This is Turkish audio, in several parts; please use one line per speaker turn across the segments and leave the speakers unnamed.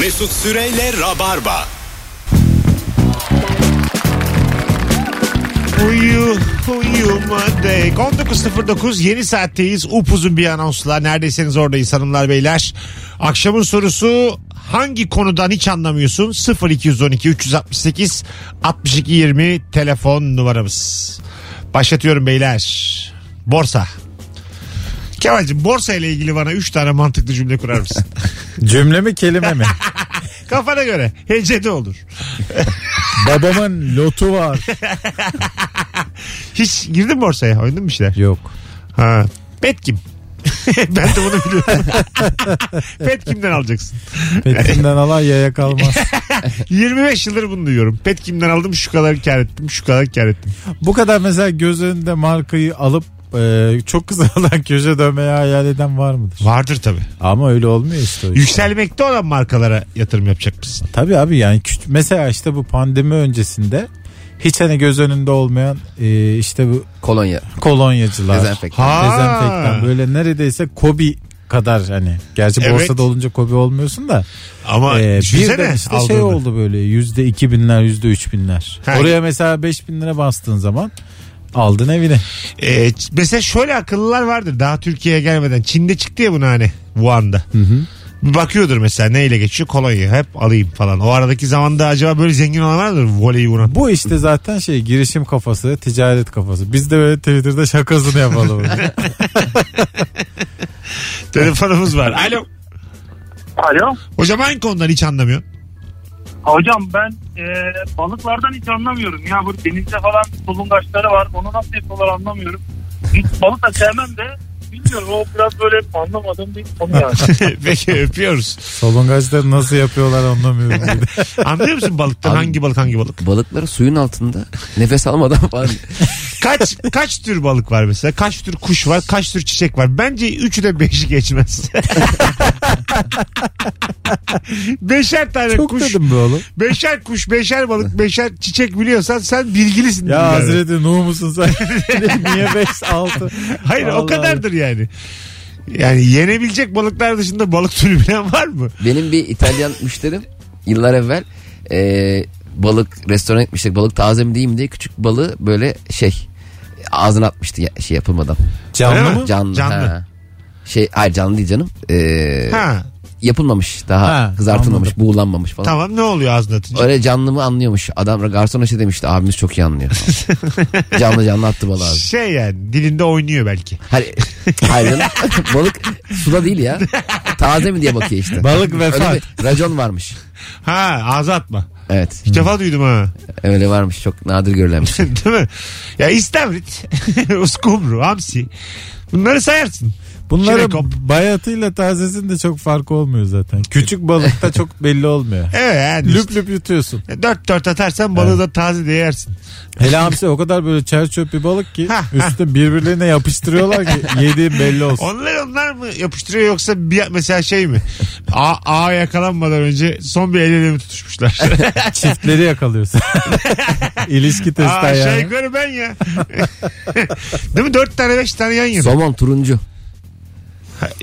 Mesut Süreyle Rabarba.
Uyu, uyuma day. 19.09 yeni saatteyiz. Upuzun bir anonsla. Neredeyseniz oradayız hanımlar beyler. Akşamın sorusu hangi konudan hiç anlamıyorsun? 0212 368 62 20 telefon numaramız. Başlatıyorum beyler. Borsa. Kemal'cim borsa ile ilgili bana 3 tane mantıklı cümle kurar mısın?
Cümle mi kelime mi?
Kafana göre. Hecede olur.
Babamın lotu var.
Hiç girdin mi borsaya? Oynadın mı bir şeyler?
Yok.
Ha. Petkim. ben de bunu biliyorum. Petkim'den alacaksın.
Petimden alan yaya kalmaz.
25 yıldır bunu duyuyorum. Petkim'den aldım şu kadar kar ettim şu kadar kar ettim.
Bu kadar mesela göz önünde markayı alıp e, çok kısadan köşe dönmeyi hayal eden var mıdır?
Vardır tabi.
Ama öyle olmuyor işte. o iş.
Yükselmekte olan markalara yatırım yapacak mısın?
Tabii abi yani küç- mesela işte bu pandemi öncesinde hiç hani göz önünde olmayan e, işte bu
Kolonya.
kolonyacılar.
Dezenfektan.
Ha.
Dezenfektan böyle neredeyse Kobi kadar hani. Gerçi
Evet.
borsada olunca Kobi olmuyorsun da.
Ama
Ee,
düşünsene
birden işte
aldığını.
şey oldu böyle yüzde iki binler yüzde üç binler.
Ha.
Oraya mesela beş bin lira bastığın zaman aldın evini.
Ee, ç- mesela şöyle akıllılar vardır daha Türkiye'ye gelmeden. Çin'de çıktı ya bunu hani Wuhan'da. Bir bakıyordur mesela neyle geçiyor kolonya hep alayım falan. O aradaki zamanda acaba böyle zengin olan vardır voleyi vuran.
Bu işte zaten şey girişim kafası, ticaret kafası. Biz de böyle Twitter'da şakasını yapalım.
Telefonumuz var. Alo.
Alo.
Hocam hangi konudan hiç anlamıyorsun?
Hocam ben e, balıklardan hiç anlamıyorum. Ya bu denizde falan solungaçları var. Onu nasıl yapıyorlar anlamıyorum. Hiç balık da sevmem de bilmiyorum. O biraz böyle anlamadığım bir konu yani.
Peki öpüyoruz.
Solungaçları nasıl yapıyorlar anlamıyorum. bir de.
Anlıyor musun balıktan
Abi-
hangi balık hangi balık?
Balıkları suyun altında nefes almadan var.
Kaç kaç tür balık var mesela? Kaç tür kuş var? Kaç tür çiçek var? Bence üçü de beşi geçmez. beşer tane
Çok
kuş,
dedim be oğlum.
beşer kuş, beşer balık, beşer çiçek biliyorsan sen bilgilisin.
Ya
yani.
Hazreti Nuh musun sen? Niye beş altı?
Hayır o
Vallahi.
kadardır yani. Yani yenebilecek balıklar dışında balık türü bilen var mı?
Benim bir İtalyan müşterim yıllar evvel e, balık restoran gitmiştik. Balık taze mi değil mi diye küçük balığı böyle şey ağzına atmıştı ya- şey yapılmadan.
Canlı
Öyle
mı?
mi?
Canlı.
Canlı.
ha. Şey hayır canlı değil canım. E,
Ha
yapılmamış daha
Ha,
kızartılmamış buğulanmamış falan.
tamam ne oluyor ağzına atınca?
Öyle canlı mı anlıyormuş. Adam garsona şey demişti abimiz çok iyi anlıyor. canlı canlı attı balığı abi.
Şey yani dilinde oynuyor belki.
Hayır, hayır canım. balık suda değil ya. Taze mi diye bakıyor işte.
Balık
Öyle
vefat.
bir racon varmış.
Ha ağza atma.
Evet.
İlk defa duydum ha.
Öyle varmış. Çok nadir görülen bir şey.
Değil mi? Ya istavrit, uskumru, hamsi. Bunları sayarsın.
Bunların
Çinekop.
bayatıyla tazesinde çok farkı olmuyor zaten. Küçük balıkta çok belli olmuyor.
Evet yani.
Lüp lüp yutuyorsun.
işte. Dört dört atarsan balığı da taze diye yersin.
Hele hamsi o kadar böyle çer çöp bir balık ki
Ha,
üstüne birbirlerine yapıştırıyorlar ki yediğin belli olsun.
Onlar onlar mı yapıştırıyor yoksa bir mesela şey mi? A, A yakalanmadan önce son bir el ele mi tutuşmuşlar?
Çiftleri yakalıyorsun. İlişki
Aa, şey
testi
aşağı
yani.
yukarı ben ya. Değil mi? Dört tane beş tane yan yana.
Somon turuncu.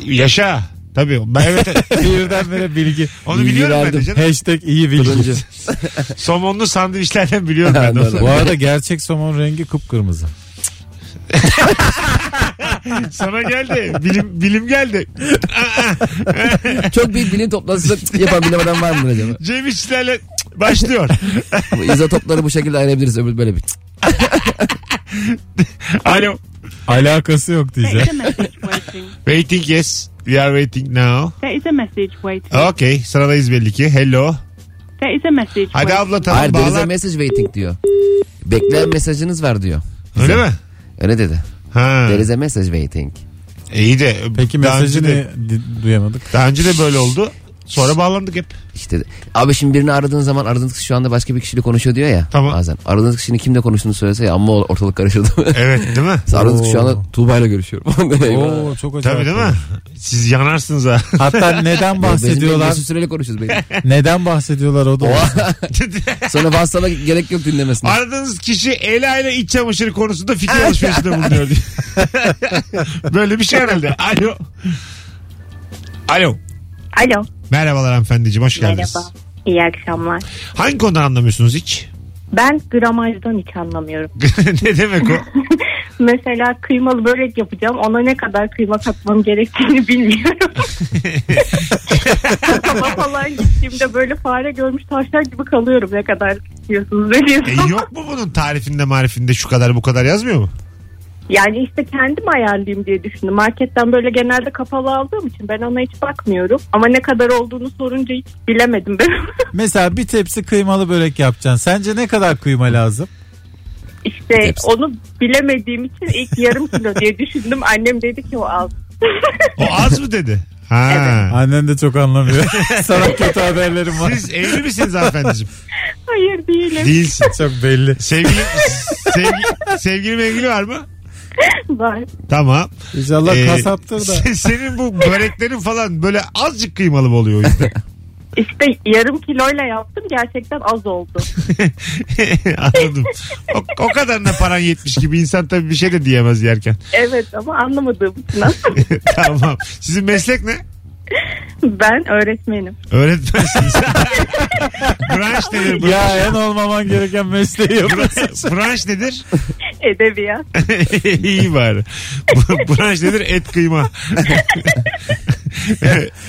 Yaşa. Tabii. Ben evet.
Birdenbire bilgi.
Onu biliyorum ben de
verdim.
canım.
Hashtag iyi bilgi.
Turuncu.
Somonlu sandviçlerden biliyorum ben de onu.
Bu arada gerçek somon rengi kıpkırmızı.
Sana geldi. Bilim, bilim geldi.
Çok büyük bilim toplantısı yapan bilim adam var mı acaba?
Cem İşçilerle başlıyor.
Bu izotopları bu şekilde ayırabiliriz. Öbür böyle bir.
Alo.
Alakası yok
There is
diyeceğim.
a message waiting.
Waiting yes. We are waiting now.
There is a message waiting.
Okay. Sıradayız belli ki. Hello.
There is a message
Hadi
waiting.
abla tamam
Hayır there is a
bağlan.
message waiting diyor. Bekleyen mesajınız var diyor.
Öyle mi?
Öyle dedi.
Ha.
There is a message waiting.
İyi de.
Peki
daha
mesajı
önce de-
ne Di- duyamadık?
Daha önce de böyle oldu. Sonra bağlandık hep.
İşte de- abi şimdi birini aradığın zaman aradığınız kişi şu anda başka bir kişiyle konuşuyor diyor ya.
Tamam.
Bazen. Aradığınız kişinin kimle konuştuğunu söylese ya amma ortalık karışırdı.
Evet değil mi?
aradığınız kişi şu anda Tuğba'yla görüşüyorum. Eyvah.
Oo çok acayip.
Tabii değil mi? Siz yanarsınız ha.
Hatta
Bahsediyorlar.
neden bahsediyorlar?
Mesut Süreyle konuşuyoruz. Benim.
neden bahsediyorlar o da?
Sonra WhatsApp'a gerek yok dinlemesine.
Aradığınız kişi Ela ile iç çamaşırı konusunda fikir alışverişinde bulunuyor diye. Böyle bir şey herhalde. Alo. Alo.
Alo.
Merhabalar hanımefendiciğim hoş geldiniz.
Merhaba. İyi akşamlar.
Hangi konudan anlamıyorsunuz hiç?
Ben gramajdan hiç anlamıyorum.
ne demek o?
Mesela kıymalı börek yapacağım. Ona ne kadar kıyma katmam gerektiğini bilmiyorum. Kasaba falan gittiğimde böyle fare görmüş taşlar gibi kalıyorum. Ne kadar
E,
istiyorsunuz veriyorsunuz.
yok mu bunun tarifinde marifinde şu kadar bu kadar yazmıyor mu?
Yani işte kendim ayarlayayım diye düşündüm. Marketten böyle genelde kapalı aldığım için ben ona hiç bakmıyorum. Ama ne kadar olduğunu sorunca hiç bilemedim ben.
Mesela bir tepsi kıymalı börek yapacaksın. Sence ne kadar kıyma lazım?
işte
Hepsi.
onu bilemediğim için ilk yarım kilo diye düşündüm. Annem dedi ki o al.
O az mı dedi? Ha.
Annen de çok anlamıyor. Sana kötü haberlerim var.
Siz evli misiniz hanımefendiciğim?
Hayır değilim.
Değilsin.
Çok belli.
Sevgili, sevgi, sevgili mevgili var mı?
Var.
Tamam.
İnşallah
Ee,
kasaptır da.
se- Senin bu böreklerin falan böyle azıcık kıymalı mı oluyor o yüzden?
İşte yarım kiloyla yaptım gerçekten az oldu.
Anladım. O, o kadarına paran yetmiş gibi insan tabii bir şey de diyemez yerken.
Evet ama anlamadığım için
tamam. Sizin meslek ne?
ben öğretmenim.
Öğretmensiniz. branş nedir? Branş,
Ya en olmaman gereken mesleği yapıyorsun.
branş nedir?
Edebiyat.
İyi bari. Bu- branş nedir? Et kıyma.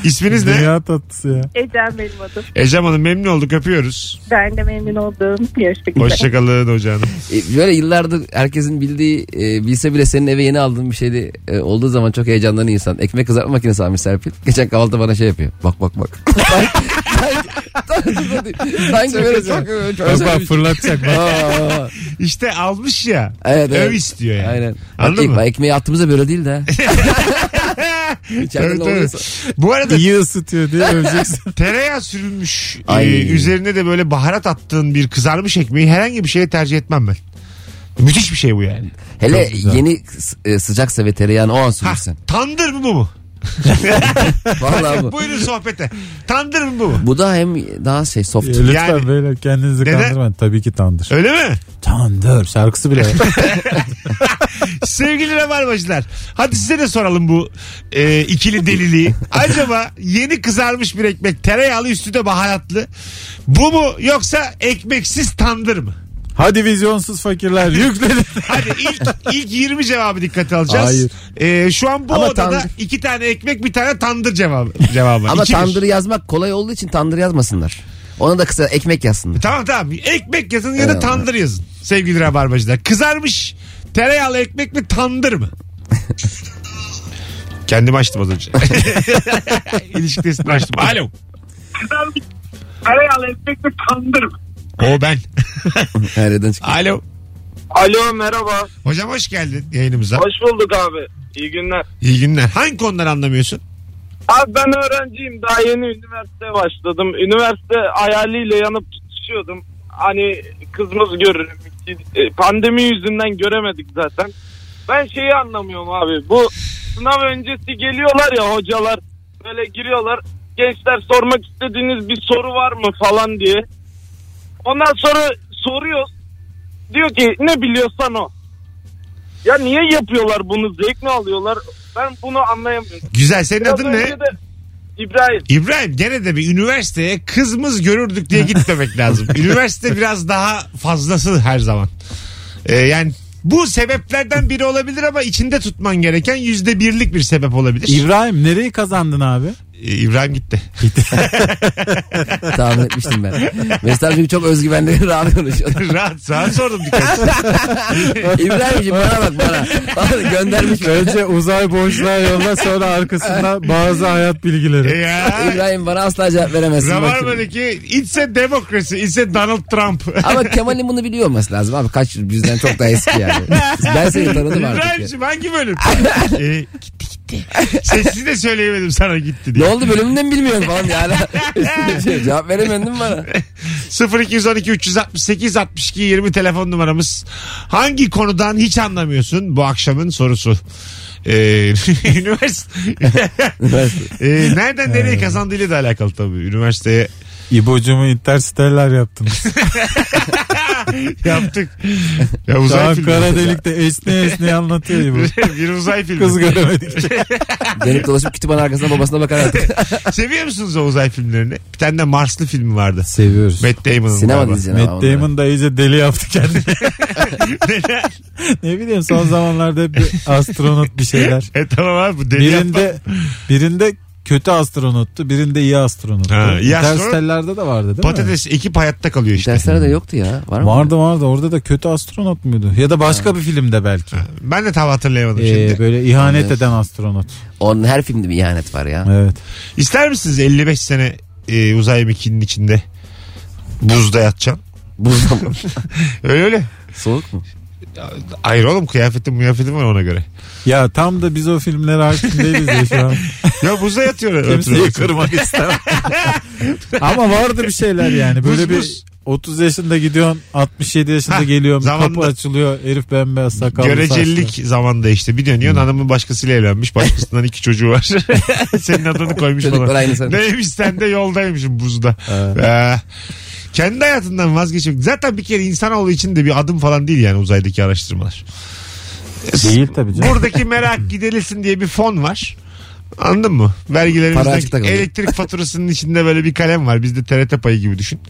İsminiz ne?
Dünya tatlısı ya.
Ecem benim adım.
Ecem Hanım memnun olduk öpüyoruz.
Ben de memnun oldum. Görüşmek üzere.
Hoşçakalın hocam.
E, Böyle yıllardır herkesin bildiği e, bilse bile senin eve yeni aldığın bir şeydi e, olduğu zaman çok heyecanlanan insan. Ekmek kızartma makinesi almış Serpil. Geçen kahvaltıda bana şey yapıyor. Bak bak bak. Sanki böyle çok,
Bak
çok
bak
özelmiş.
fırlatacak. Bak.
Aa,
İşte almış ya.
evet, evet.
Öv istiyor yani.
Aynen.
Anladın
Bak, ek-
mı?
bak, ekmeği attığımızda böyle değil de. İçeride
Tabii,
ne
tabii.
oluyorsa.
Bu arada
İyi ısıtıyor diye öveceksin.
tereyağı sürülmüş e,
Ay.
üzerine de böyle baharat attığın bir kızarmış ekmeği herhangi bir şeye tercih etmem ben. Müthiş bir şey bu yani.
Hele
Çok güzel.
yeni s- e, sıcaksa ve tereyağını o an
Ha,
sürürsen.
tandır mı bu mu?
Vallahi bu.
Buyurun sohbete. Tandır mı bu mu?
Bu da hem daha şey soft.
Ya Lütfen
Yani-
böyle kendinizi
Neden?
kandırmayın. Tabii ki tandır.
Öyle mi?
Tandır şarkısı bile. var.
Sevgili Rabarbacılar hadi size de soralım bu e, ikili deliliği. Acaba yeni kızarmış bir ekmek tereyağlı üstü de baharatlı bu mu yoksa ekmeksiz tandır mı?
Hadi vizyonsuz fakirler yüklenin.
Hadi ilk, ilk 20 cevabı dikkate alacağız.
Hayır.
E, şu an bu
Ama
odada
tandır.
iki tane ekmek bir tane tandır cevabı. cevabı.
Ama
İki bir.
tandırı yazmak kolay olduğu için tandır yazmasınlar. Ona da kısa ekmek yazsınlar.
Tamam tamam ekmek yazın ya da
Eyvallah.
tandır yazın sevgili Rabarbacılar. Kızarmış tereyağlı ekmek mi tandır mı? Kendimi açtım az önce. İlişki testini açtım. Alo.
Kızarmış tereyağlı ekmek mi tandır mı?
O ben.
Nereden çıkıyor?
Alo.
Alo merhaba.
Hocam hoş geldin yayınımıza.
Hoş bulduk abi. İyi günler.
İyi günler. Hangi konuları anlamıyorsun?
Abi ben öğrenciyim. Daha yeni üniversiteye başladım. Üniversite hayaliyle yanıp tutuşuyordum. Hani kızımız görürüm. E, Pandemi yüzünden göremedik zaten. Ben şeyi anlamıyorum abi. Bu sınav öncesi geliyorlar ya hocalar. Böyle giriyorlar. Gençler sormak istediğiniz bir soru var mı falan diye. Ondan sonra soruyoruz. Diyor ki ne biliyorsan o. Ya niye yapıyorlar bunu? Zevk mi alıyorlar? Ben bunu anlayamıyorum.
Güzel. Senin
Biraz
adın
önce
ne?
de İbrahim.
İbrahim gene de bir üniversiteye kızımız görürdük diye gitmemek lazım. Üniversite biraz daha fazlası her zaman. Ee, yani bu sebeplerden biri olabilir ama içinde tutman gereken yüzde birlik bir sebep olabilir.
İbrahim nereyi kazandın abi?
Ee, İbrahim gitti.
Tahmin etmiştim ben. Mesut abi çünkü çok özgüvenli rahat konuşuyor.
rahat rahat sordum dikkat.
İbrahim'ciğim bana bak bana. Bana göndermiş.
Önce uzay boşluğa yolla sonra arkasında bazı hayat bilgileri.
şey ya.
İbrahim bana asla cevap veremezsin. bak şimdi.
Rabarba'daki it's demokrasi, it's a Donald Trump.
Ama Kemal'in bunu biliyor olması lazım abi. Kaç yıl bizden çok daha eski yani. Ben seni tanıdım artık. ya.
İbrahim'cim hangi bölüm? ee, gitti gitti. Sesini de söyleyemedim sana gitti
Ne
diye.
oldu bölümünden bilmiyorum falan yani. Şey, cevap veremedin mi bana?
0212 368 62 20 telefon numaramız. Hangi konudan hiç anlamıyorsun bu akşamın sorusu? Ee,
Ee.
üniversite. ee, nereden nereye kazandığıyla da alakalı tabii. Üniversiteye
İbocumu interstellar yaptınız.
Yaptık. Ya
Şu
uzay
an kara
filmi.
delikte esne esne anlatıyor İbo.
bir uzay filmi.
Kız göremedik.
Dönüp dolaşıp kütüphane arkasına babasına bakar artık.
Seviyor musunuz o uzay filmlerini? Bir tane de Marslı filmi vardı.
Seviyoruz.
Matt Damon'ın.
Sinema
galiba.
dizisi.
Matt Damon da iyice deli yaptı kendini. ne bileyim son zamanlarda hep bir astronot bir şeyler.
E tamam abi bu deli yapma.
Birinde birinde kötü astronottu, birinde iyi astronottu.
Ha, iyi astronot-
Interstellar'da da vardı değil mi?
Patates ekip hayatta kalıyor işte.
Derslerde de yoktu ya. Var mı?
Vardı vardı orada da kötü astronot muydu? Ya da başka bir filmde belki.
Ben de tam hatırlayamadım
Ee,
şimdi.
böyle ihanet
Evet.
eden astronot.
Onun her filmde bir ihanet var ya.
Evet.
İster misiniz 55 sene e, uzay mekiğinin içinde buzda yatacaksın?
Buzda mı?
Öyle öyle.
Soğuk mu?
Hayır oğlum kıyafetim kıyafetim var ona göre.
Ya tam da biz o filmlere hakim değiliz ya şu an.
Ya buzda yatıyor.
Kimseyi
ötürü.
kırmak istemem. Ama vardı bir şeyler yani. Böyle
Buz,
bir
buz.
30 yaşında gidiyorsun 67 yaşında
Ha,
geliyorsun
zamanında-
kapı açılıyor herif bembeyaz sakallı
Görecelilik
saçlı.
zamanda işte. Bir dönüyorsun hanımın başkasıyla evlenmiş. Başkasından iki çocuğu var. Senin adını koymuş
Çocuklar
bana.
aynı sen.
Neymiş sen de yoldaymışım buzda.
Evet.
Ee, kendi hayatından vazgeçmek. Zaten bir kere insanoğlu için de bir adım falan değil yani uzaydaki araştırmalar.
Değil tabii canım.
Buradaki merak giderilsin diye bir fon var. Anladın mı?
Para açıkta
Vergilerimizden
kalıyor.
elektrik faturasının içinde böyle bir kalem var. Bizde TRT payı gibi düşün.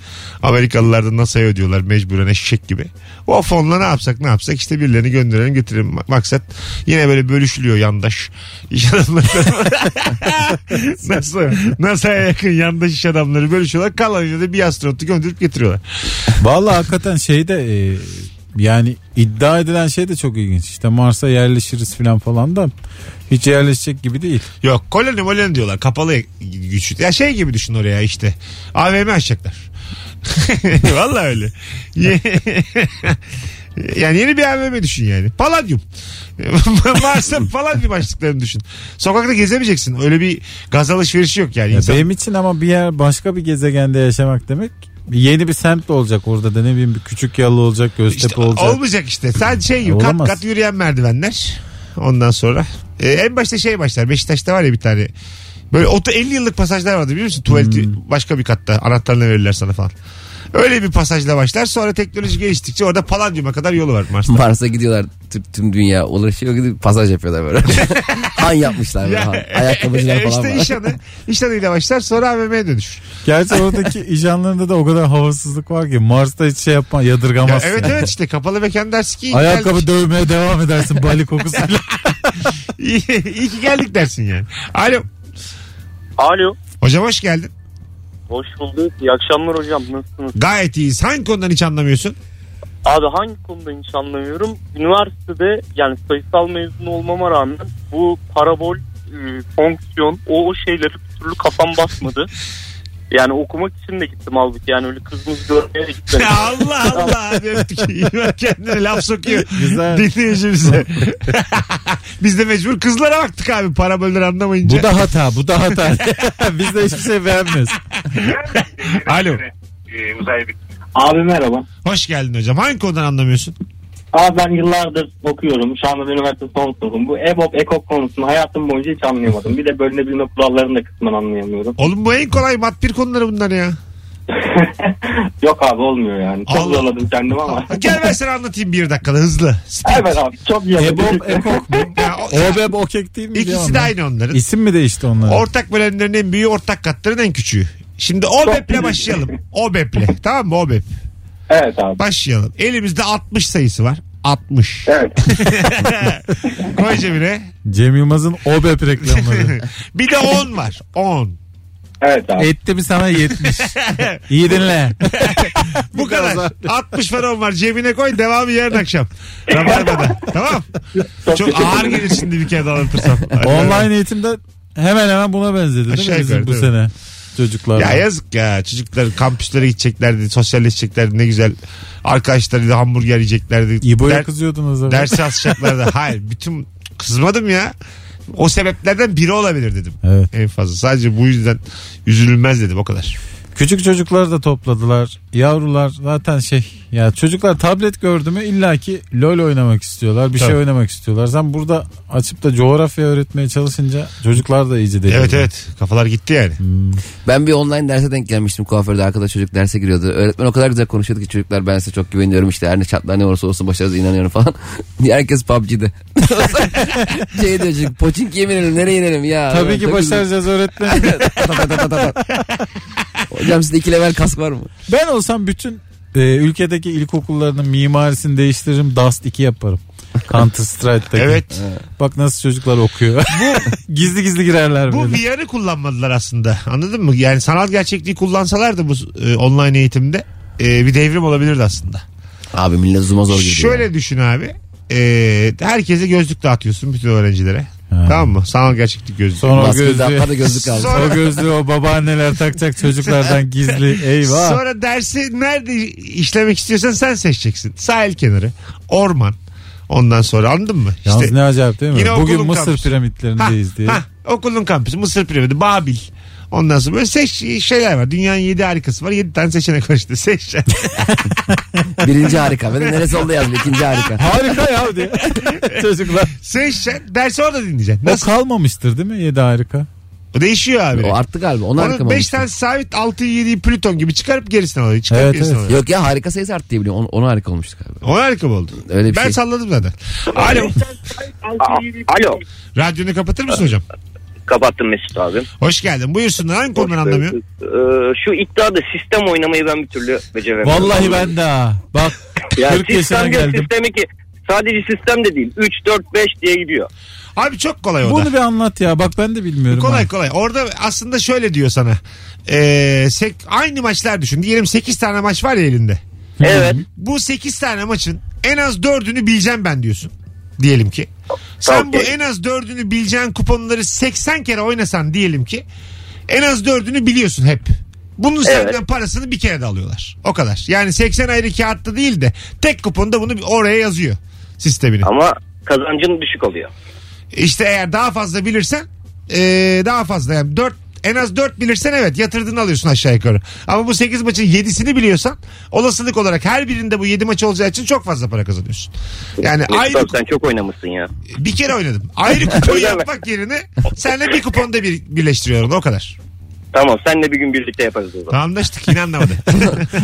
Amerikalılar da NASA'ya ödüyorlar mecburen eşek gibi. O fonla ne yapsak ne yapsak işte birilerini gönderelim getirelim. Ma- Maksat yine böyle bölüşülüyor yandaş iş adamları. NASA, NASA'ya yakın yandaş iş adamları bölüşüyorlar. Kalanıyla da bir astronotu gönderip getiriyorlar.
Vallahi hakikaten şeyde e, yani iddia edilen şey de çok ilginç. İşte Mars'a yerleşiriz falan falan da hiç yerleşecek gibi değil.
Yok koloni moloni diyorlar. Kapalı güç. Ya şey gibi düşün oraya işte. AVM açacaklar. Vallahi öyle. Ye- yani yeni bir AVM düşün yani. Palladium. Mars'ta palladium açtıklarını düşün. Sokakta gezemeyeceksin. Öyle bir gaz alışverişi yok yani.
Ya
İnsan-
benim için ama bir yer başka bir gezegende yaşamak demek yeni bir semt olacak orada da ne bileyim bir küçük yalı olacak Göztepe
İşte
olacak.
olmayacak işte. Sen şey gibi kat
Olamaz.
kat yürüyen merdivenler. Ondan sonra. Ee, en başta şey başlar. Beşiktaş'ta var ya bir tane. Böyle otu 50 yıllık pasajlar vardı biliyor musun? Tuvaleti başka bir katta. Anahtarını verirler sana falan. Öyle bir pasajla başlar. Sonra teknoloji geliştikçe orada Palladium'a kadar yolu var Mars'ta.
Mars'a gidiyorlar tüm, tüm dünya ulaşıyor gidip pasaj yapıyorlar böyle. han yapmışlar böyle.
Ya,
Han. Ayakkabıcılar
e,
falan
işte iş
var.
anı, iş anıyla başlar sonra AVM'ye dönüşür.
Gerçi oradaki ijanlarında da o kadar havasızlık var ki Mars'ta hiç şey yapma
Ya,
yadırgamazsın.
evet
yani.
evet işte kapalı mekan dersi ki iyi ki
Ayakkabı
geldik.
dövmeye devam edersin bali kokusuyla.
iyi, iyi ki geldik dersin yani. Alo.
Alo.
Hocam hoş geldin.
Hoş bulduk. İyi akşamlar hocam. Nasılsınız?
Gayet iyiyiz. Hangi konudan hiç anlamıyorsun?
Abi hangi konuda hiç anlamıyorum. Üniversitede yani sayısal mezunu olmama rağmen bu parabol, e, fonksiyon o, o şeyleri bir türlü kafam basmadı. Yani okumak için de gittim halbuki yani öyle kızımız görmeye de gitmedim.
Allah Allah Hadi öptük. İyi bak Kendine laf sokuyor.
Güzel.
Dinleyicimize. Biz de mecbur kızlara baktık abi para bölür anlamayınca.
bu da hata bu da hata. Biz de hiçbir şey beğenmiyoruz.
Alo.
Abi merhaba.
Hoş geldin hocam. Hangi konudan anlamıyorsun?
Abi ben yıllardır okuyorum. Şu anda da üniversite son sınıfım. Bu E EBOB, EKOK konusunu hayatım boyunca hiç anlayamadım. Bir de bölünebilme kurallarını da kısmen anlayamıyorum.
Oğlum bu en kolay mat bir konuları bunlar ya.
Yok abi olmuyor yani. Çok
Allah.
zorladım kendimi ama.
Gel ben sana anlatayım bir dakikada hızlı. Speed.
evet abi çok iyi.
E
Ebop ekok mu?
Ya o-
Obeb okek değil mi?
İkisi de aynı onların.
İsim mi değişti onların?
Ortak bölenlerin en büyüğü ortak katların en küçüğü. Şimdi OBEP'le başlayalım. OBEP'le. Tamam mı OBEP?
Evet abi.
Başlayalım. Elimizde 60 sayısı var. 60.
Evet.
Koy cebine.
Cem Yılmaz'ın Obeb reklamları.
bir de 10 var. 10.
Evet
E
abi.
Etti mi sana 70. İyi dinle.
Bu kadar. 60 var 10 var. Cebine koy. Devamı yarın akşam. Rabarba'da. tamam.
Çok
Çok
teşekkür
ağır
ederim.
gelir şimdi bir kere daha anlatırsam.
Online eğitimde hemen hemen buna benzedi değil
Aşağı
mi bizim
yukarı,
bu
değil
sene? Çocuklar.
Ya yazık ya. Çocuklar kampüslere gideceklerdi. Sosyalleşeceklerdi. Ne güzel. Arkadaşlarıyla hamburger yiyeceklerdi.
İbo'ya
Der-
kızıyordunuz. abi.
Dersi asacaklardı. Hayır. Bütün kızmadım ya. O sebeplerden biri olabilir dedim.
Evet.
En fazla. Sadece bu yüzden üzülmez dedim o kadar.
Küçük çocukları da topladılar. Yavrular zaten şey ya çocuklar tablet gördü mü illaki LOL oynamak istiyorlar. Bir
Tabii.
şey oynamak istiyorlar. Sen burada açıp da coğrafya öğretmeye çalışınca çocuklar da iyice deli.
Evet evet kafalar gitti yani.
Ben bir online derse denk gelmiştim kuaförde. Arkada çocuk derse giriyordu. Öğretmen o kadar güzel konuşuyordu ki çocuklar ben size çok güveniyorum işte her ne şartlar ne olursa olsun başarırız inanıyorum falan. Herkes PUBG'de. şey diyor çocuk poçink yemin ederim nereye inelim ya.
Tabii
Ben
ki
çok
başaracağız öğretmen.
üzüldüm. Hocam sizde iki level kask var mı?
Ben olsam bütün e, ülkedeki ilkokullarının mimarisini değiştiririm. Dust 2 yaparım. Counter Strike'daki.
Evet.
Bak nasıl çocuklar okuyor. gizli gizli girerler
Bu
böyle.
VR'ı kullanmadılar aslında. Anladın mı? Yani sanal gerçekliği kullansalardı bu e, online eğitimde e, bir devrim olabilirdi aslında.
Abi millet zuma zor gidiyor.
Şöyle düşün abi. E, herkese gözlük dağıtıyorsun bütün öğrencilere. Tamam mı? Sanal gerçeklik gözlüğü.
Sonra o
Baskı
gözlüğü,
daha da gözlük aldı.
Sonra-
o gözlüğü o babaanneler takacak çocuklardan gizli. Eyvah.
Sonra dersi nerede işlemek istiyorsan sen seçeceksin. Sahil kenarı, orman. Ondan sonra anladın mı?
Yalnız ne acayip değil mi?
Yine
Bugün
okulun
Mısır
kampüsü.
piramitlerindeyiz diye.
Ha, okulun kampüsü Mısır piramidi Babil. Ondan sonra böyle seç şeyler var. Dünyanın yedi harikası var. Yedi tane seçenek var işte. Seç.
Birinci harika. Ben de neresi oldu yazdım. ikinci harika.
Harika ya diye. Çocuklar.
seç. Dersi orada dinleyeceksin.
O
Nasıl?
kalmamıştır değil mi? Yedi harika.
O değişiyor abi.
O arttı galiba. Onu harika
Onun
mı
5
olmuştu?
tane sabit 6'yı 7'yi Plüton gibi çıkarıp gerisini alıyor. Çıkarıp
Evet,
gerisini
evet.
alıyor.
Yok ya harika sayısı arttı diye biliyorum. Onu, onu harika olmuştu galiba.
O harika mı oldu.
Öyle bir
ben
şey.
salladım zaten. Alo.
Alo.
Radyonu kapatır mısın hocam?
Kapattım Mesut abi.
Hoş geldin. Buyursunlar. Hangi konudan anlamıyor?
Ee, şu iddiada sistem oynamayı ben bir türlü beceremiyorum.
Vallahi ben de ha. Bak
Ya
40 yaşına
sistem diyor,
geldim.
sistemi ki sadece sistem de değil. 3, 4, 5 diye gidiyor.
Abi çok kolay o da.
Bunu bir anlat ya. Bak ben de bilmiyorum.
Kolay
ha.
kolay. Orada aslında şöyle diyor sana. Ee, sek, aynı maçlar düşün. Diyelim 8 tane maç var ya elinde.
Evet.
Bu 8 tane maçın en az 4'ünü bileceğim ben diyorsun. Diyelim ki. Sen
Tamam,
bu
okey.
en az 4'ünü bileceğin kuponları 80 kere oynasan diyelim ki. En az 4'ünü biliyorsun hep. Bunun
Evet.
senden parasını bir kere de alıyorlar. O kadar. Yani 80 ayrı kağıtta değil de tek kuponda bunu bir- oraya yazıyor sistemini.
Ama kazancın düşük oluyor.
İşte eğer daha fazla bilirsen eee, daha fazla yani 4 en az 4 bilirsen evet yatırdığını alıyorsun aşağı yukarı. Ama bu 8 maçın 7'sini biliyorsan olasılık olarak her birinde bu 7 maç olacağı için çok fazla para kazanıyorsun. Yani
Mesut
ayrı
abi sen çok oynamışsın ya.
bir kere oynadım. Ayrı kupon
Öyle mi?
yapmak yerine seninle bir kuponda bir, birleştiriyorum o kadar.
Tamam senle bir gün birlikte yaparız o zaman.
Anlaştık yine anlamadı.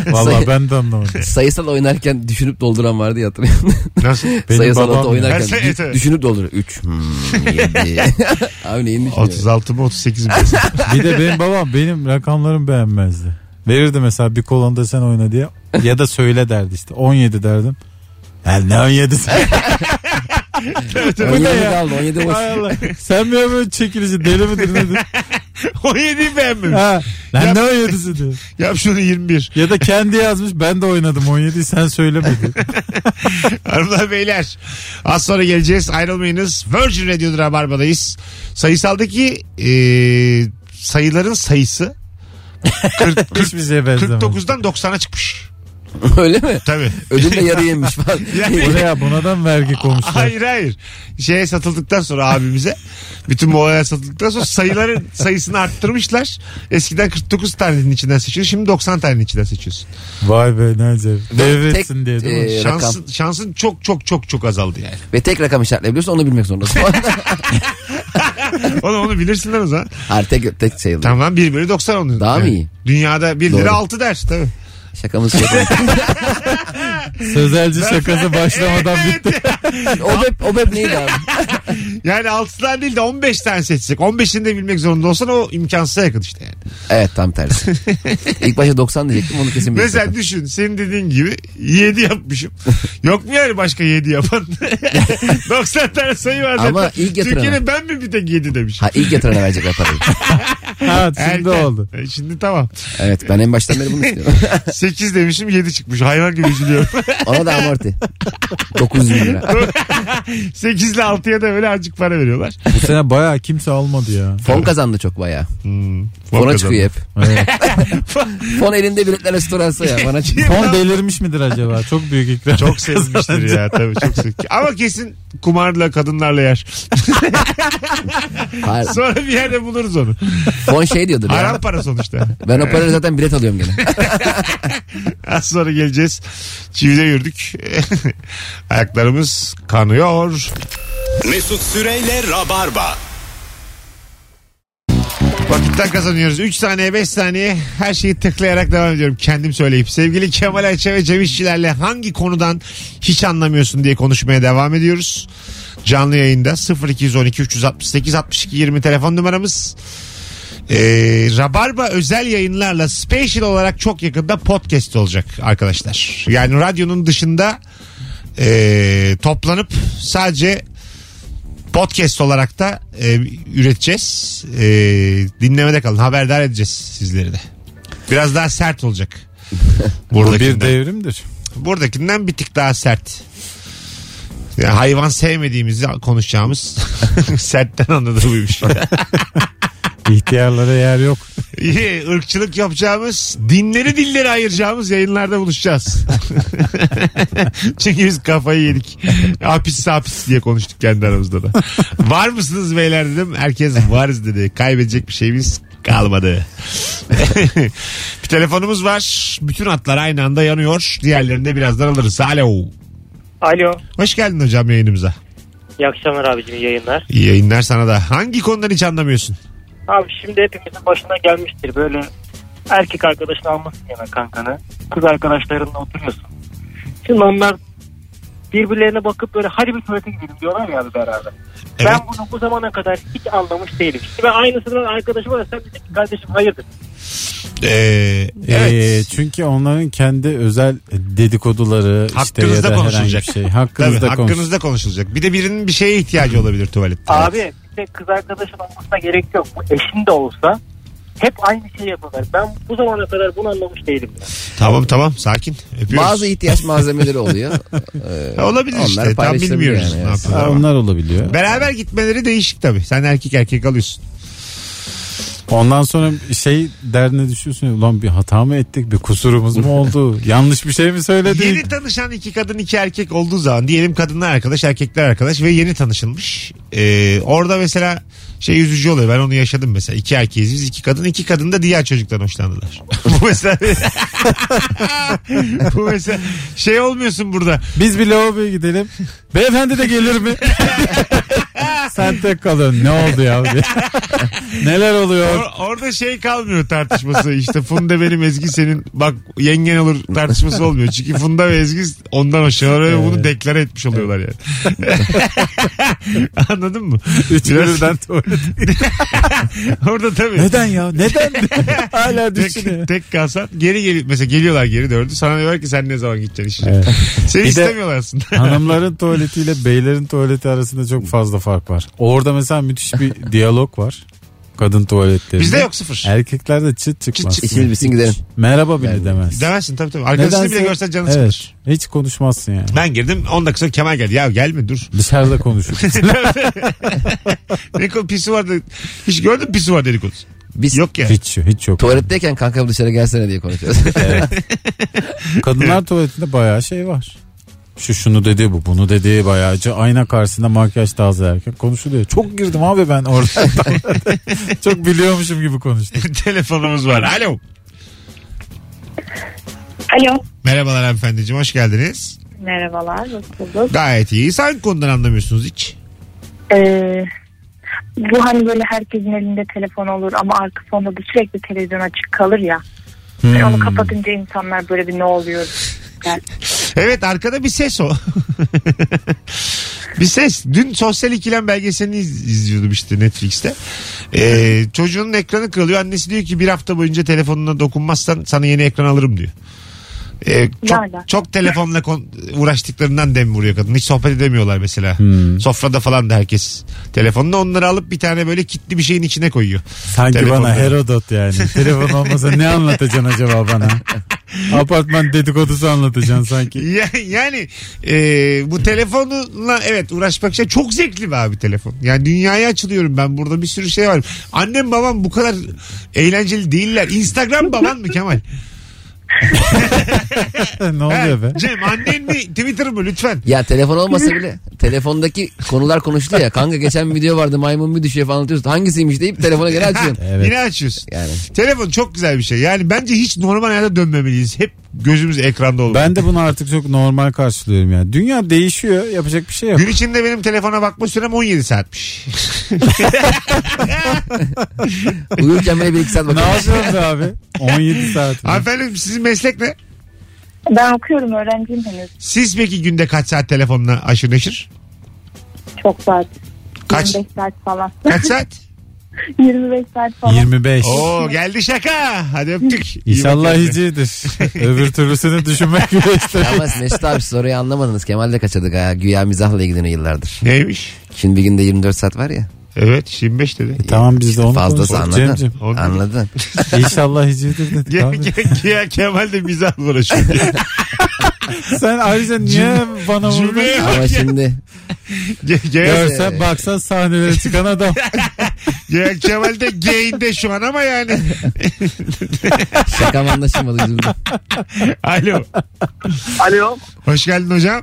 Vallahi ben de anlamadım.
Sayısal oynarken düşünüp dolduran vardı ya hatırlıyorum.
Nasıl?
Benim
Sayısal
babam
ata
ya.
oynarken
Her
dü-
sayı-
düşünüp dolduruyor. 3, hmm, 7. Abi neyin düşünüyorsun?
36 mı 38 mi?
Bir de benim babam benim rakamlarımı beğenmezdi. Verirdi mesela bir kolonda sen oyna diye. Ya da söyle derdi işte. 17 derdim. Ya ne 17 sen? Bu
17
ne ya?
kaldı 17 boş.
Hay Allah. Sen mi ya böyle çekilici deli midir nedir?
17'yi beğenmemiş.
Ha, lan
Ya-
ne 17'si diyor.
Yap şunu 21.
Ya da kendi yazmış ben de oynadım 17'yi sen söylemedin.
Hanımlar beyler az sonra geleceğiz ayrılmayınız Virgin Radio'da Rabarba'dayız sayısaldaki e, sayıların sayısı 40,
Hiçbir şey şeye benzemez.
49'dan 90'a çıkmış
Öyle mi?
tabii
Ödül de yarı yemiş falan.
Yani-
Oraya buna da mı vergi koymuşlar?
hayır hayır şeye satıldıktan sonra abimize bütün bu olaya satıldıktan sonra sayıların sayısını arttırmışlar eskiden 49 tanenin içinden seçiyorsun şimdi 90 tanenin içinden seçiyorsun
Vay be ne acayip. Devretsin
Tek-
diye değil mi?
e,
şansın,
rakam.
şansın çok çok çok çok azaldı yani
Ve tek rakam işaretleyebiliyorsun onu bilmek zorundasın.
onu, onu bilirsinler o zaman
Hayır tek, tek şey oluyor.
Tamam 1 bölü 90 onun.
Daha mı
Yani
iyi?
Dünyada 1
Doğru.
lira 6 der tabii.
Şakamız şakamız.
Sözelci şakası başlamadan bitti.
o bep, o bep neydi abi?
Yani 6'dan değil de 15 tane seçsek. 15'ini de bilmek zorunda olsan o imkansıza yakın işte yani.
Evet tam tersi. İlk başta 90 diyecektim onu kesin bilmek
Mesela düşün senin dediğin gibi 7 yapmışım. Yok mu yani başka 7 yapan? 90 tane sayı var zaten.
Ama ilk yatırana.
Türkiye'de ben mi bir tek 7 demişim?
Ha ilk yatırana verecekler parayı.
Ha, şimdi
Erken.
oldu.
E, Şimdi tamam.
Evet ben en baştan beri bunu istiyorum.
8 demişim 7 çıkmış. Hayvan gibi üzülüyorum.
Ona da amorti. 900 bin lira.
8 ile 6'ya da öyle azıcık para veriyorlar.
Bu sene bayağı kimse almadı ya.
Fon kazandı çok bayağı.
Fon
Fona
kazandı.
çıkıyor hep.
Evet.
Fon elinde biletler restoransı ya. Bana çıkıyor.
Fon delirmiş midir acaba? Çok büyük ikram.
Çok sevmiştir ya tabii çok sev- Ama kesin kumarla kadınlarla yer.
Hayır,
Sonra bir yerde buluruz onu.
Fon şey diyordur ya.
Haram para sonuçta.
Ben o parayla zaten bilet alıyorum gene.
Az sonra geleceğiz. Çivide yürüdük. Ayaklarımız kanıyor.
Mesut Süreyle Rabarba.
Vakitten kazanıyoruz. 3 saniye 5 saniye her şeyi tıklayarak devam ediyorum. Kendim söyleyip. Sevgili Kemal Ayça ve Cem İşçilerle hangi konudan hiç anlamıyorsun diye konuşmaya devam ediyoruz. Canlı yayında 0212 368 62 20 telefon numaramız. Ee, Rabarba özel yayınlarla special olarak çok yakında podcast olacak arkadaşlar. Yani radyonun dışında ee, toplanıp sadece podcast olarak da e, üreteceğiz. E, dinlemede kalın. Haberdar edeceğiz sizleri de. Biraz daha sert olacak.
Bu bir
Buradakinden,
devrimdir.
buradakinden bir tık daha sert. Yani hayvan sevmediğimizi konuşacağımız sertten anladı buymuş.
İhtiyarlara yer yok.
İyi, ırkçılık yapacağımız, dinleri dilleri ayıracağımız yayınlarda buluşacağız. Çünkü biz kafayı yedik. Hapis hapis diye konuştuk kendi aramızda da. Var mısınız beyler dedim. Herkes varız dedi. Kaybedecek bir şeyimiz kalmadı. bir telefonumuz var. Bütün hatlar aynı anda yanıyor. Diğerlerini de birazdan alırız. Alo.
Alo.
Hoş geldin hocam yayınımıza.
İyi akşamlar abicim iyi yayınlar.
İyi yayınlar sana da. Hangi konudan hiç anlamıyorsun?
Abi şimdi hepimizin başına gelmiştir böyle erkek arkadaşını almışsın yana kankanı. Kız arkadaşlarınla oturuyorsun. Şimdi onlar birbirlerine bakıp böyle hadi bir tuvalete gidelim diyorlar ya abi beraber.
Evet.
Ben bunu bu zamana kadar hiç anlamış değilim. Şimdi ben aynısından arkadaşıma da sen dedin ki kardeşim hayırdır.
Ee, evet.
Ee, çünkü onların kendi özel dedikoduları işte ya
Hakkınızda
da herhangi
konuşulacak.
bir şey.
Tabii,
Hakkınızda konuş.
hakkınızda konuşulacak. Bir de birinin bir şeye ihtiyacı olabilir tuvalette.
Abi bir de kız arkadaşın olmasına gerek yok. Bu eşin de olsa hep aynı şeyi yapıyorlar. Ben bu zamana kadar bunu anlamış değilim.
Tamam tamam sakin. Öpüyoruz.
Bazı ihtiyaç malzemeleri oluyor. Ee,
Ha, olabilir
onlar
işte. Tam
paylaşılabiliyor
bilmiyoruz
yani.
ne
Evet.
yapıyorlar.
Ha, Onlar olabiliyor.
Beraber gitmeleri değişik tabii. Sen erkek erkek alıyorsun.
Ondan sonra şey derdine düşüyorsun. ya, Ulan bir hata mı ettik? Bir kusurumuz mu oldu? Yanlış bir şey mi
Yeni
söyledik?
tanışan iki kadın iki erkek olduğu zaman diyelim kadınlar arkadaş erkekler arkadaş ve yeni tanışılmış. Ee, orada mesela şey üzücü oluyor. Ben onu yaşadım mesela. İki erkeğiz biz iki kadın. iki kadın da diğer çocuktan hoşlandılar. Bu mesela bu mesela şey olmuyorsun burada.
Biz bir lavaboya gidelim. Beyefendi de gelir mi? Sen tek kalın. Ne oldu ya? diye. Neler oluyor?
Or- orada şey kalmıyor tartışması. İşte Funda benim Ezgi senin bak yengen olur tartışması olmuyor. Çünkü Funda ve Ezgi ondan hoşlanıyor ve bunu deklare etmiş oluyorlar yani. Anladın mı?
Üç
Biraz-
birden tuvalet.
Orada tabii.
Neden ya? Neden? Hala düşünüyor.
Tek, tek kalsan geri gel mesela geliyorlar geri dördü sana diyorlar ki sen ne zaman gideceksin işe.
Evet.
Seni
Bir de-
istemiyorlar aslında.
Hanımların tuvaletiyle beylerin tuvaleti arasında çok fazla fark var. Orada mesela müthiş bir diyalog var. Kadın tuvaletlerinde.
Bizde yok sıfır.
Erkeklerde çıt çıkmaz.
Çıt
İçimiz bitsin gidelim.
Merhaba bile demez.
Demezsin tabii tabii. Arkadaşını
Nedense-
bile görsen canı
evet,
sıkılır.
Hiç konuşmazsın yani.
Ben girdim 10 dakika sonra Kemal geldi. Ya gelme dur.
Dışarıda konuşuruz.
Ne kadar pisi vardı. Hiç gördün mü pisi var dedikodusu?
Biz
Yok ya.
hiç, hiç yok.
tuvaletteyken kanka dışarı gelsene diye konuşuyoruz.
Kadınlar tuvaletinde bayağı şey var. Şu şunu dedi bu bunu dedi bayağı acı. ayna karşısında makyaj tazeyerken konuşuluyor. Çok girdim abi ben orada. çok biliyormuşum gibi konuştum.
Telefonumuz var. Alo.
Alo.
Merhabalar hanımefendiciğim hoş geldiniz.
Merhabalar. Nasılsınız?
Gayet iyi. Hangi konudan anlamıyorsunuz hiç?
Ee, bu hani böyle herkesin elinde telefon olur ama arka fonda da sürekli televizyon açık kalır ya. Ve Onu kapatınca insanlar böyle bir ne oluyor der.
Evet arkada bir ses o. bir ses. Dün sosyal ikilem belgeselini iz- izliyordum işte Netflix'te. Ee, çocuğunun ekranı kırılıyor. Annesi diyor ki bir hafta boyunca telefonuna dokunmazsan sana yeni ekran alırım diyor. Ee, çok,
Yani.
çok telefonla kon- uğraştıklarından dem vuruyor kadın. Hiç sohbet edemiyorlar mesela. Sofrada falan da herkes telefonla onları alıp bir tane böyle kitli bir şeyin içine koyuyor.
Sanki
Telefonda.
bana Herodot yani. Telefon olmasa ne anlatacaksın acaba bana? Apartman dedikodusu anlatacaksın sanki.
Ya- yani e, bu telefonla evet uğraşmak şey çok zevkli be abi telefon. Yani dünyaya açılıyorum ben burada bir sürü şey var. Annem babam bu kadar eğlenceli değiller. Instagram baban mı Kemal?
ne
Ha,
oluyor be?
Cem annen mi Twitter mı lütfen?
Ya telefon olmasa bile telefondaki konular konuştu ya. Kanka geçen bir video vardı maymun bir düşüyor falan anlatıyorsun. Hangisiymiş deyip telefona geri açıyorsun.
Evet.
Yine açıyorsun.
Yani.
Telefon çok güzel bir şey. Yani bence hiç normal hayata dönmemeliyiz. Hep gözümüz ekranda olmalı.
Ben de bunu artık çok normal karşılıyorum yani. Dünya değişiyor. Yapacak bir şey yok.
Gün içinde benim telefona bakma sürem 17 saatmiş.
Uyurken bile bir iki saat
ne
bakıyorsun.
yapıyorsun be abi? 17 saat. mi?
Hanımefendi sizin meslek ne?
Ben okuyorum öğrenciyim henüz.
Siz peki günde kaç saat telefonla aşırı neşir?
Çok saat.
Kaç?
25 saat falan.
Kaç saat?
25 saat falan.
25.
Oo geldi şaka. Hadi öptük. İyi
İnşallah
bakın.
hicidir. Öbür türlüsünü düşünmek bile
Ama
istemiyorum.
Mesut abi soruyu anlamadınız. Kemal de kaçadık ha. Güya mizahla ilgileniyor yıllardır.
Neymiş?
Şimdi bir günde 24 saat var ya.
Evet 25 dedi.
Tamam biz de onu
Fazlası
konuşalım.
anladın.
Cem'cim
Onu-
Anladın.
inşallah hicidir dedik
Ke-
abi.
Ke- Ke- Kemal de mizah uğraşıyor.
Sen ayrıca niye bana vurdun?
Cümleye bak
Ama
ya.
şimdi
Ke- Ke-
Görsen baksan sahnelere çıkan adam.
Ke- Kemal de geyinde şu an ama yani.
şakam anlaşılmadı. üzüldüm.
Alo.
Alo.
Hoş geldin hocam.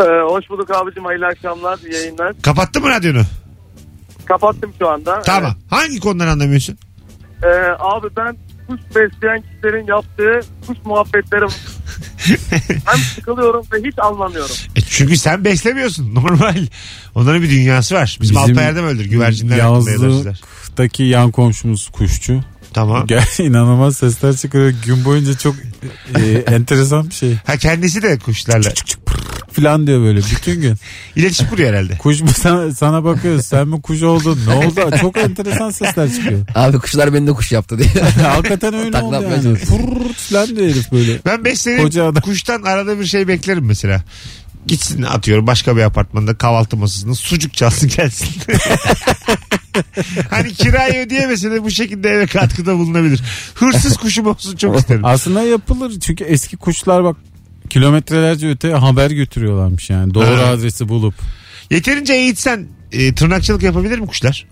Ee, hoş bulduk abicim. Hayırlı akşamlar. iyi yayınlar.
Kapattın mı radyonu?
Kapattım şu anda.
Tamam. Hangi konudan anlamıyorsun?
Ee, abi ben kuş besleyen kişilerin yaptığı kuş muhabbetleri hem sıkılıyorum ve hiç anlamıyorum.
E çünkü sen beslemiyorsun. Normal. Onların bir dünyası var. Bizim,
Bizim
Alpayer'de mi öldür? Güvercinler hakkında yazarcılar.
Yazlıktaki yan komşumuz kuşçu.
Tamam.
Gel, inanılmaz sesler çıkarıyor. Gün boyunca çok e, enteresan bir şey.
Ha kendisi de kuşlarla.
Falan diyor böyle bütün gün.
İletişim kuruyor herhalde.
Kuş mu sana, sana bakıyor. Sen mi kuş oldun? Ne oldu? Çok enteresan sesler çıkıyor.
Abi kuşlar beni de kuş yaptı diye.
Hakikaten öyle oldu
Taklatmaya
yani.
çalışıyor.
Pırrrt falan diyor herif böyle.
Ben 5
Koca
sene
adam.
kuştan arada bir şey beklerim mesela. Gitsin atıyorum başka bir apartmanda kahvaltı masasında sucuk çalsın gelsin. hani kirayı ödeyemese de bu şekilde eve katkıda bulunabilir. Hırsız kuşum olsun çok isterim.
Aslında yapılır. Çünkü eski kuşlar bak kilometrelerce öte haber götürüyorlarmış yani. Doğru
Evet.
adresi bulup.
Yeterince eğitsen e, tırnakçılık yapabilir mi kuşlar?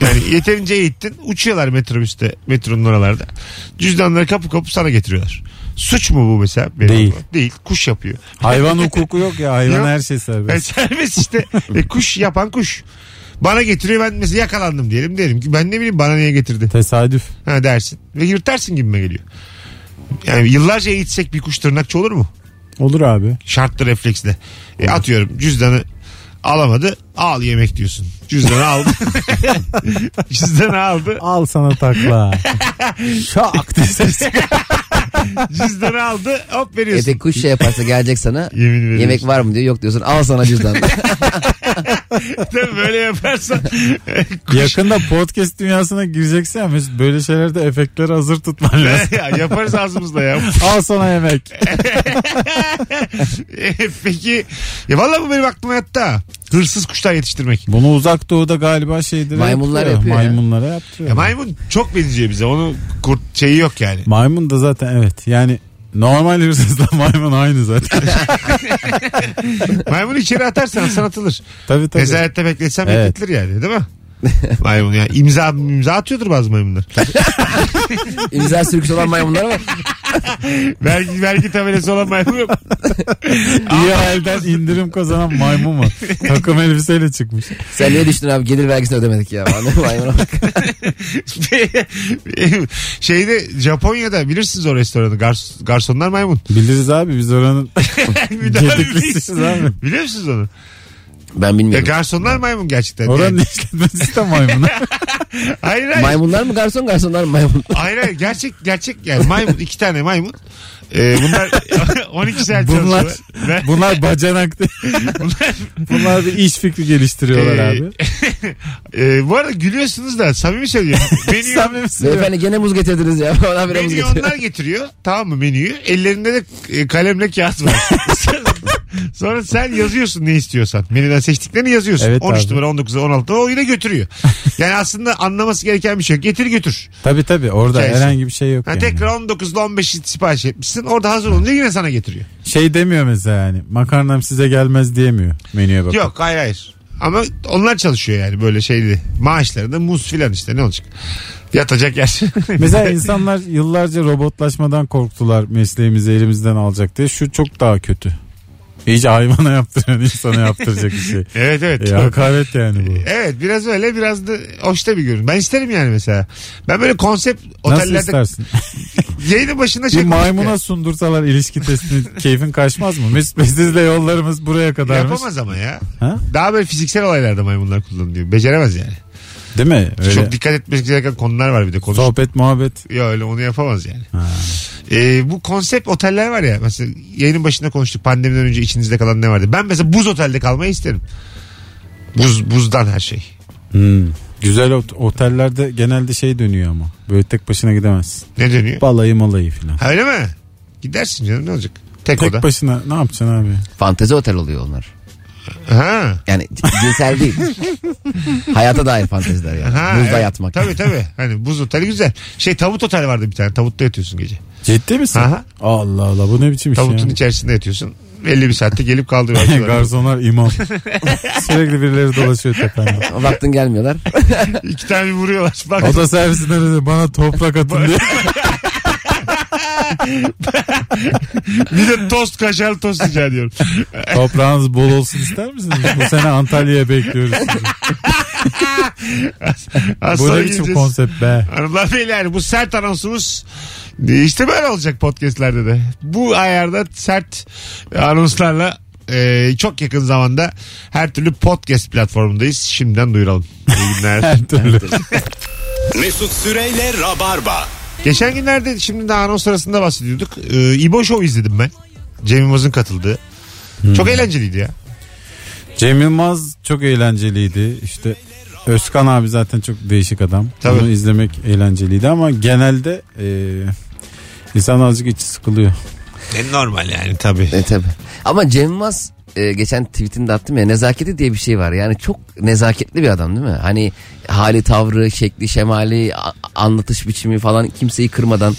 Yani yeterince eğittin uçuyorlar metrobüste metronun oralarda. Cüzdanları kapı kapı sana getiriyorlar. Suç mu bu mesela? Benim
Değil.
aklıma. Değil. Kuş yapıyor.
Hayvan hukuku yok ya. Hayvan
Yok.
her şey serbest.
E, serbest işte. E, kuş yapan kuş. Bana getiriyor ben mesela yakalandım diyelim derim ki ben ne bileyim bana niye getirdi
Tesadüf.
ha dersin ve yırtarsın gibime geliyor. Yani yıllarca eğitsek bir kuş tırnakçı olur mu?
Olur abi.
Şartlı refleksle. E, atıyorum cüzdanı alamadı al yemek diyorsun. Cüzdanı aldı. cüzdanı aldı.
Al sana takla. Şak diye ses çıkıyor.
Cüzdanı aldı hop
E
veriyorsun.
peki kuş şey yaparsa gelecek sana.
Yemin veriyorum.
Yemek var mı diyor. Yok diyorsun. Al sana cüzdan.
Tabii böyle yaparsan kuş-
Yakında podcast dünyasına gireceksin ya Mesut, böyle şeylerde efektleri hazır tutman lazım.
ya, yaparız ağzımızla ya.
Al sana yemek.
E, Peki ya vallahi bu benim aklıma yattı ha. Hırsız kuşlar yetiştirmek.
Bunu uzak doğuda galiba şeydir.
Maymunlar yapıyor ya.
Maymunlara yaptırıyor.
Ya E, maymun çok benziyor bize. Onun kurt şeyi yok yani.
Maymun da zaten evet. Yani normal hırsızla maymun aynı zaten.
Maymunu içeri atarsan sana atılır.
tabii tabii.
Nezarette bekletsen
Evet.
bekletilir yani değil mi? Maymun ya imza imza atıyordur bazı maymunlar.
İmza sürgüsü olan maymunlar var.
vergi vergi tabelası olan maymun yok.
İyi halden indirim kazanan maymun mu? Takım elbiseyle çıkmış.
Sen niye düştün abi? Gelir vergisini ödemedik ya. Maymuna bak.
Şeyde Japonya'da bilirsiniz o restoranı. Gars- garsonlar maymun.
Biliriz abi biz oranın gediklisiyiz abi.
Biliyor musunuz onu?
Ben
Ya
bilmiyorum.
garsonlar maymun gerçekten.
Oranın
Yani-
işletmecisi de maymun.
Hayır hayır.
Maymunlar mı garson garsonlar mı maymun?
Hayır hayır gerçek gerçek yani maymun iki tane maymun. Ee, bunlar 12 saat
Bunlar-
çalışıyorlar. Ve-
Bunlar bacanak. değil.
bunlar
Bunlar bir iş fikri geliştiriyorlar
Ee,
abi.
Ee, bu arada gülüyorsunuz da samimi söylüyorum. Menüyü,
Samimi söylüyorum.
Beyefendi gene muz getirdiniz ya. Bana bir muz
menüyü
getir.
onlar getiriyor. Tamam mı menüyü? Ellerinde de e, kalemle kağıt var. Sonra sen yazıyorsun ne istiyorsan. Menüden seçtiklerini yazıyorsun.
Evet
13
abi.
numara 19 16 o yine götürüyor. Yani aslında anlaması gereken bir şey yok. Getir götür.
Tabii tabii orada
Hikayesi.
herhangi bir şey yok
Ha,
yani.
Tekrar 19 ile 15'i sipariş etmişsin. Orada hazır olunca yine sana getiriyor.
Şey demiyor mesela yani makarnam size gelmez diyemiyor menüye bak.
Yok hayır hayır. Ama onlar çalışıyor yani böyle şeyli. Maaşları da muz filan işte ne olacak? Yatacak yer.
Mesela insanlar yıllarca robotlaşmadan korktular mesleğimizi elimizden alacak diye. Şu çok daha kötü. İyice hayvana yaptıran insana yaptıracak bir şey.
evet evet.
E, hakaret yani bu.
Evet biraz öyle biraz da hoşta bir görün. Ben isterim yani mesela. Ben böyle konsept
Nasıl
otellerde
istersin?
yayının başında şey
Bir
konuştuk ya.
maymuna sundursalar ilişki testini keyfin kaçmaz mı? Mesut Bey, sizle yollarımız buraya kadarmış.
Yapamaz ama ya.
Ha?
Daha böyle fiziksel olaylarda maymunlar kullanılıyor. Beceremez yani.
Değil mi? Öyle.
Çok dikkat etmek gereken konular var bir de konuş.
Sohbet muhabbet.
Ya öyle onu yapamaz yani. Ee, bu konsept oteller var ya mesela yayının başında konuştuk pandemiden önce içinizde kalan ne vardı? Ben mesela buz otelde kalmayı isterim. Buz buzdan her şey.
Hmm. Güzel ot- otellerde genelde şey dönüyor ama. Böyle tek başına gidemezsin.
Ne dönüyor?
Balayı malayı filan.
Ha, öyle mi? Gidersin canım ne olacak? Tek,
Tek
oda.
başına ne yapacaksın abi?
Fantezi otel oluyor onlar.
ha.
Yani cinsel değil. Hayata dair fanteziler yani.
ha
Buzda
evet.
yatmak.
Tabii tabii. Hani buz oteli güzel. Şey tavut otel vardı bir tane. Tavutta yatıyorsun gece.
Ciddi misin?
Aha.
Allah Allah bu ne biçim iş ya?
Tavutun içerisinde yatıyorsun. Belli bir saatte gelip kaldırıyorlar.
Garsonlar imam. Sürekli birileri dolaşıyor tepemde.
O Baktın gelmiyorlar.
İki tane vuruyorlar. Bak
Oda servisinden dedi bana toprak atın diye.
bir de tost kaşarlı tost rica ediyorum.
Toprağınız bol olsun ister misiniz? Bu sene Antalya'ya bekliyoruz sizi.
Az
Bu
sonra
ne biçim
geleceğiz.
konsept be?
Hanımlar beyler bu sert anonsumuz e, işte böyle olacak podcastlerde de. Bu ayarda sert anonslarla e, çok yakın zamanda her türlü podcast platformundayız. Şimdiden duyuralım. İyi günler.
Her türlü.
Mesut Süreyle Rabarba.
Geçen günlerde şimdi daha anons sırasında bahsediyorduk. E, İbo Show izledim ben. Cem Yılmaz'ın katıldığı. Çok eğlenceliydi ya.
Cem Yılmaz çok eğlenceliydi. İşte Özkan abi zaten çok değişik adam.
Tabii.
Onu izlemek eğlenceliydi ama genelde e, insan azıcık içi sıkılıyor.
normal yani tabii.
E, tabii. Ama Cem Yılmaz e, geçen tweetinde attım ya nezaketi diye bir şey var. Yani çok nezaketli bir adam değil mi? Hani hali tavrı, şekli, şemali, a- anlatış biçimi falan kimseyi kırmadan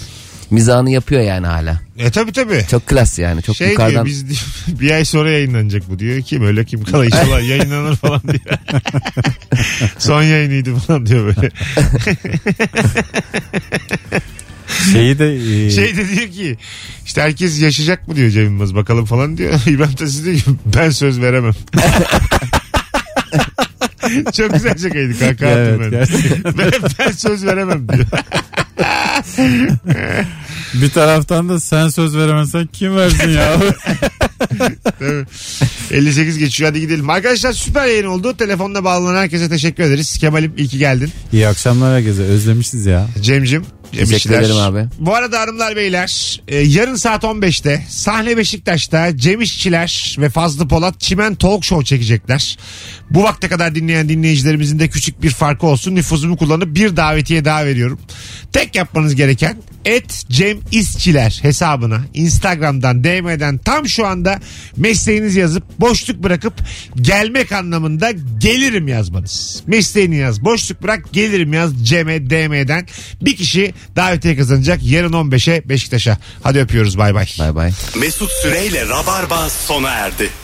mizahını yapıyor yani hala.
E tabii tabii.
Çok klas yani. Çok
şey diyor
yukarıdan.
biz diyor, bir ay sonra yayınlanacak bu diyor. Kim öyle kim kala inşallah yayınlanır falan diyor. Son yayınıydı falan diyor böyle.
Şeyi de e,
Şey de diyor ki işte herkes yaşayacak mı diyor Cem Yılmaz bakalım falan diyor. İbrahim Tatlıses diyor ki ben söz veremem. Çok güzel şakaydı kanka.
Evet,
ben.
gerçekten.
ben, ben söz veremem diyor.
bir taraftan da sen söz veremezsen kim versin ya?
58 geçiyor hadi gidelim. Arkadaşlar süper yayın oldu. Telefonda bağlanan herkese teşekkür ederiz. Kemal'im iyi ki geldin.
İyi akşamlar herkese özlemişiz ya.
Cem'cim. Cem
Teşekkür
İşçiler.
ederim abi.
Bu arada hanımlar beyler e, yarın saat 15'te sahne Beşiktaş'ta Cem İşçiler ve Fazlı Polat Çimen Talk Show çekecekler. Bu vakte kadar dinleyen dinleyicilerimizin de küçük bir farkı olsun. Nüfuzumu kullanıp bir davetiye daha veriyorum. Tek yapmanız gereken et Cem İşçiler hesabına Instagram'dan DM'den tam şu anda mesleğinizi yazıp boşluk bırakıp gelmek anlamında gelirim yazmanız. Mesleğini yaz boşluk bırak gelirim yaz Cem'e DM'den bir kişi davetiye kazanacak yarın 15'e Beşiktaş'a. Hadi öpüyoruz bay bay.
Bay bay.
Mesut Süreyle Rabarba sona erdi.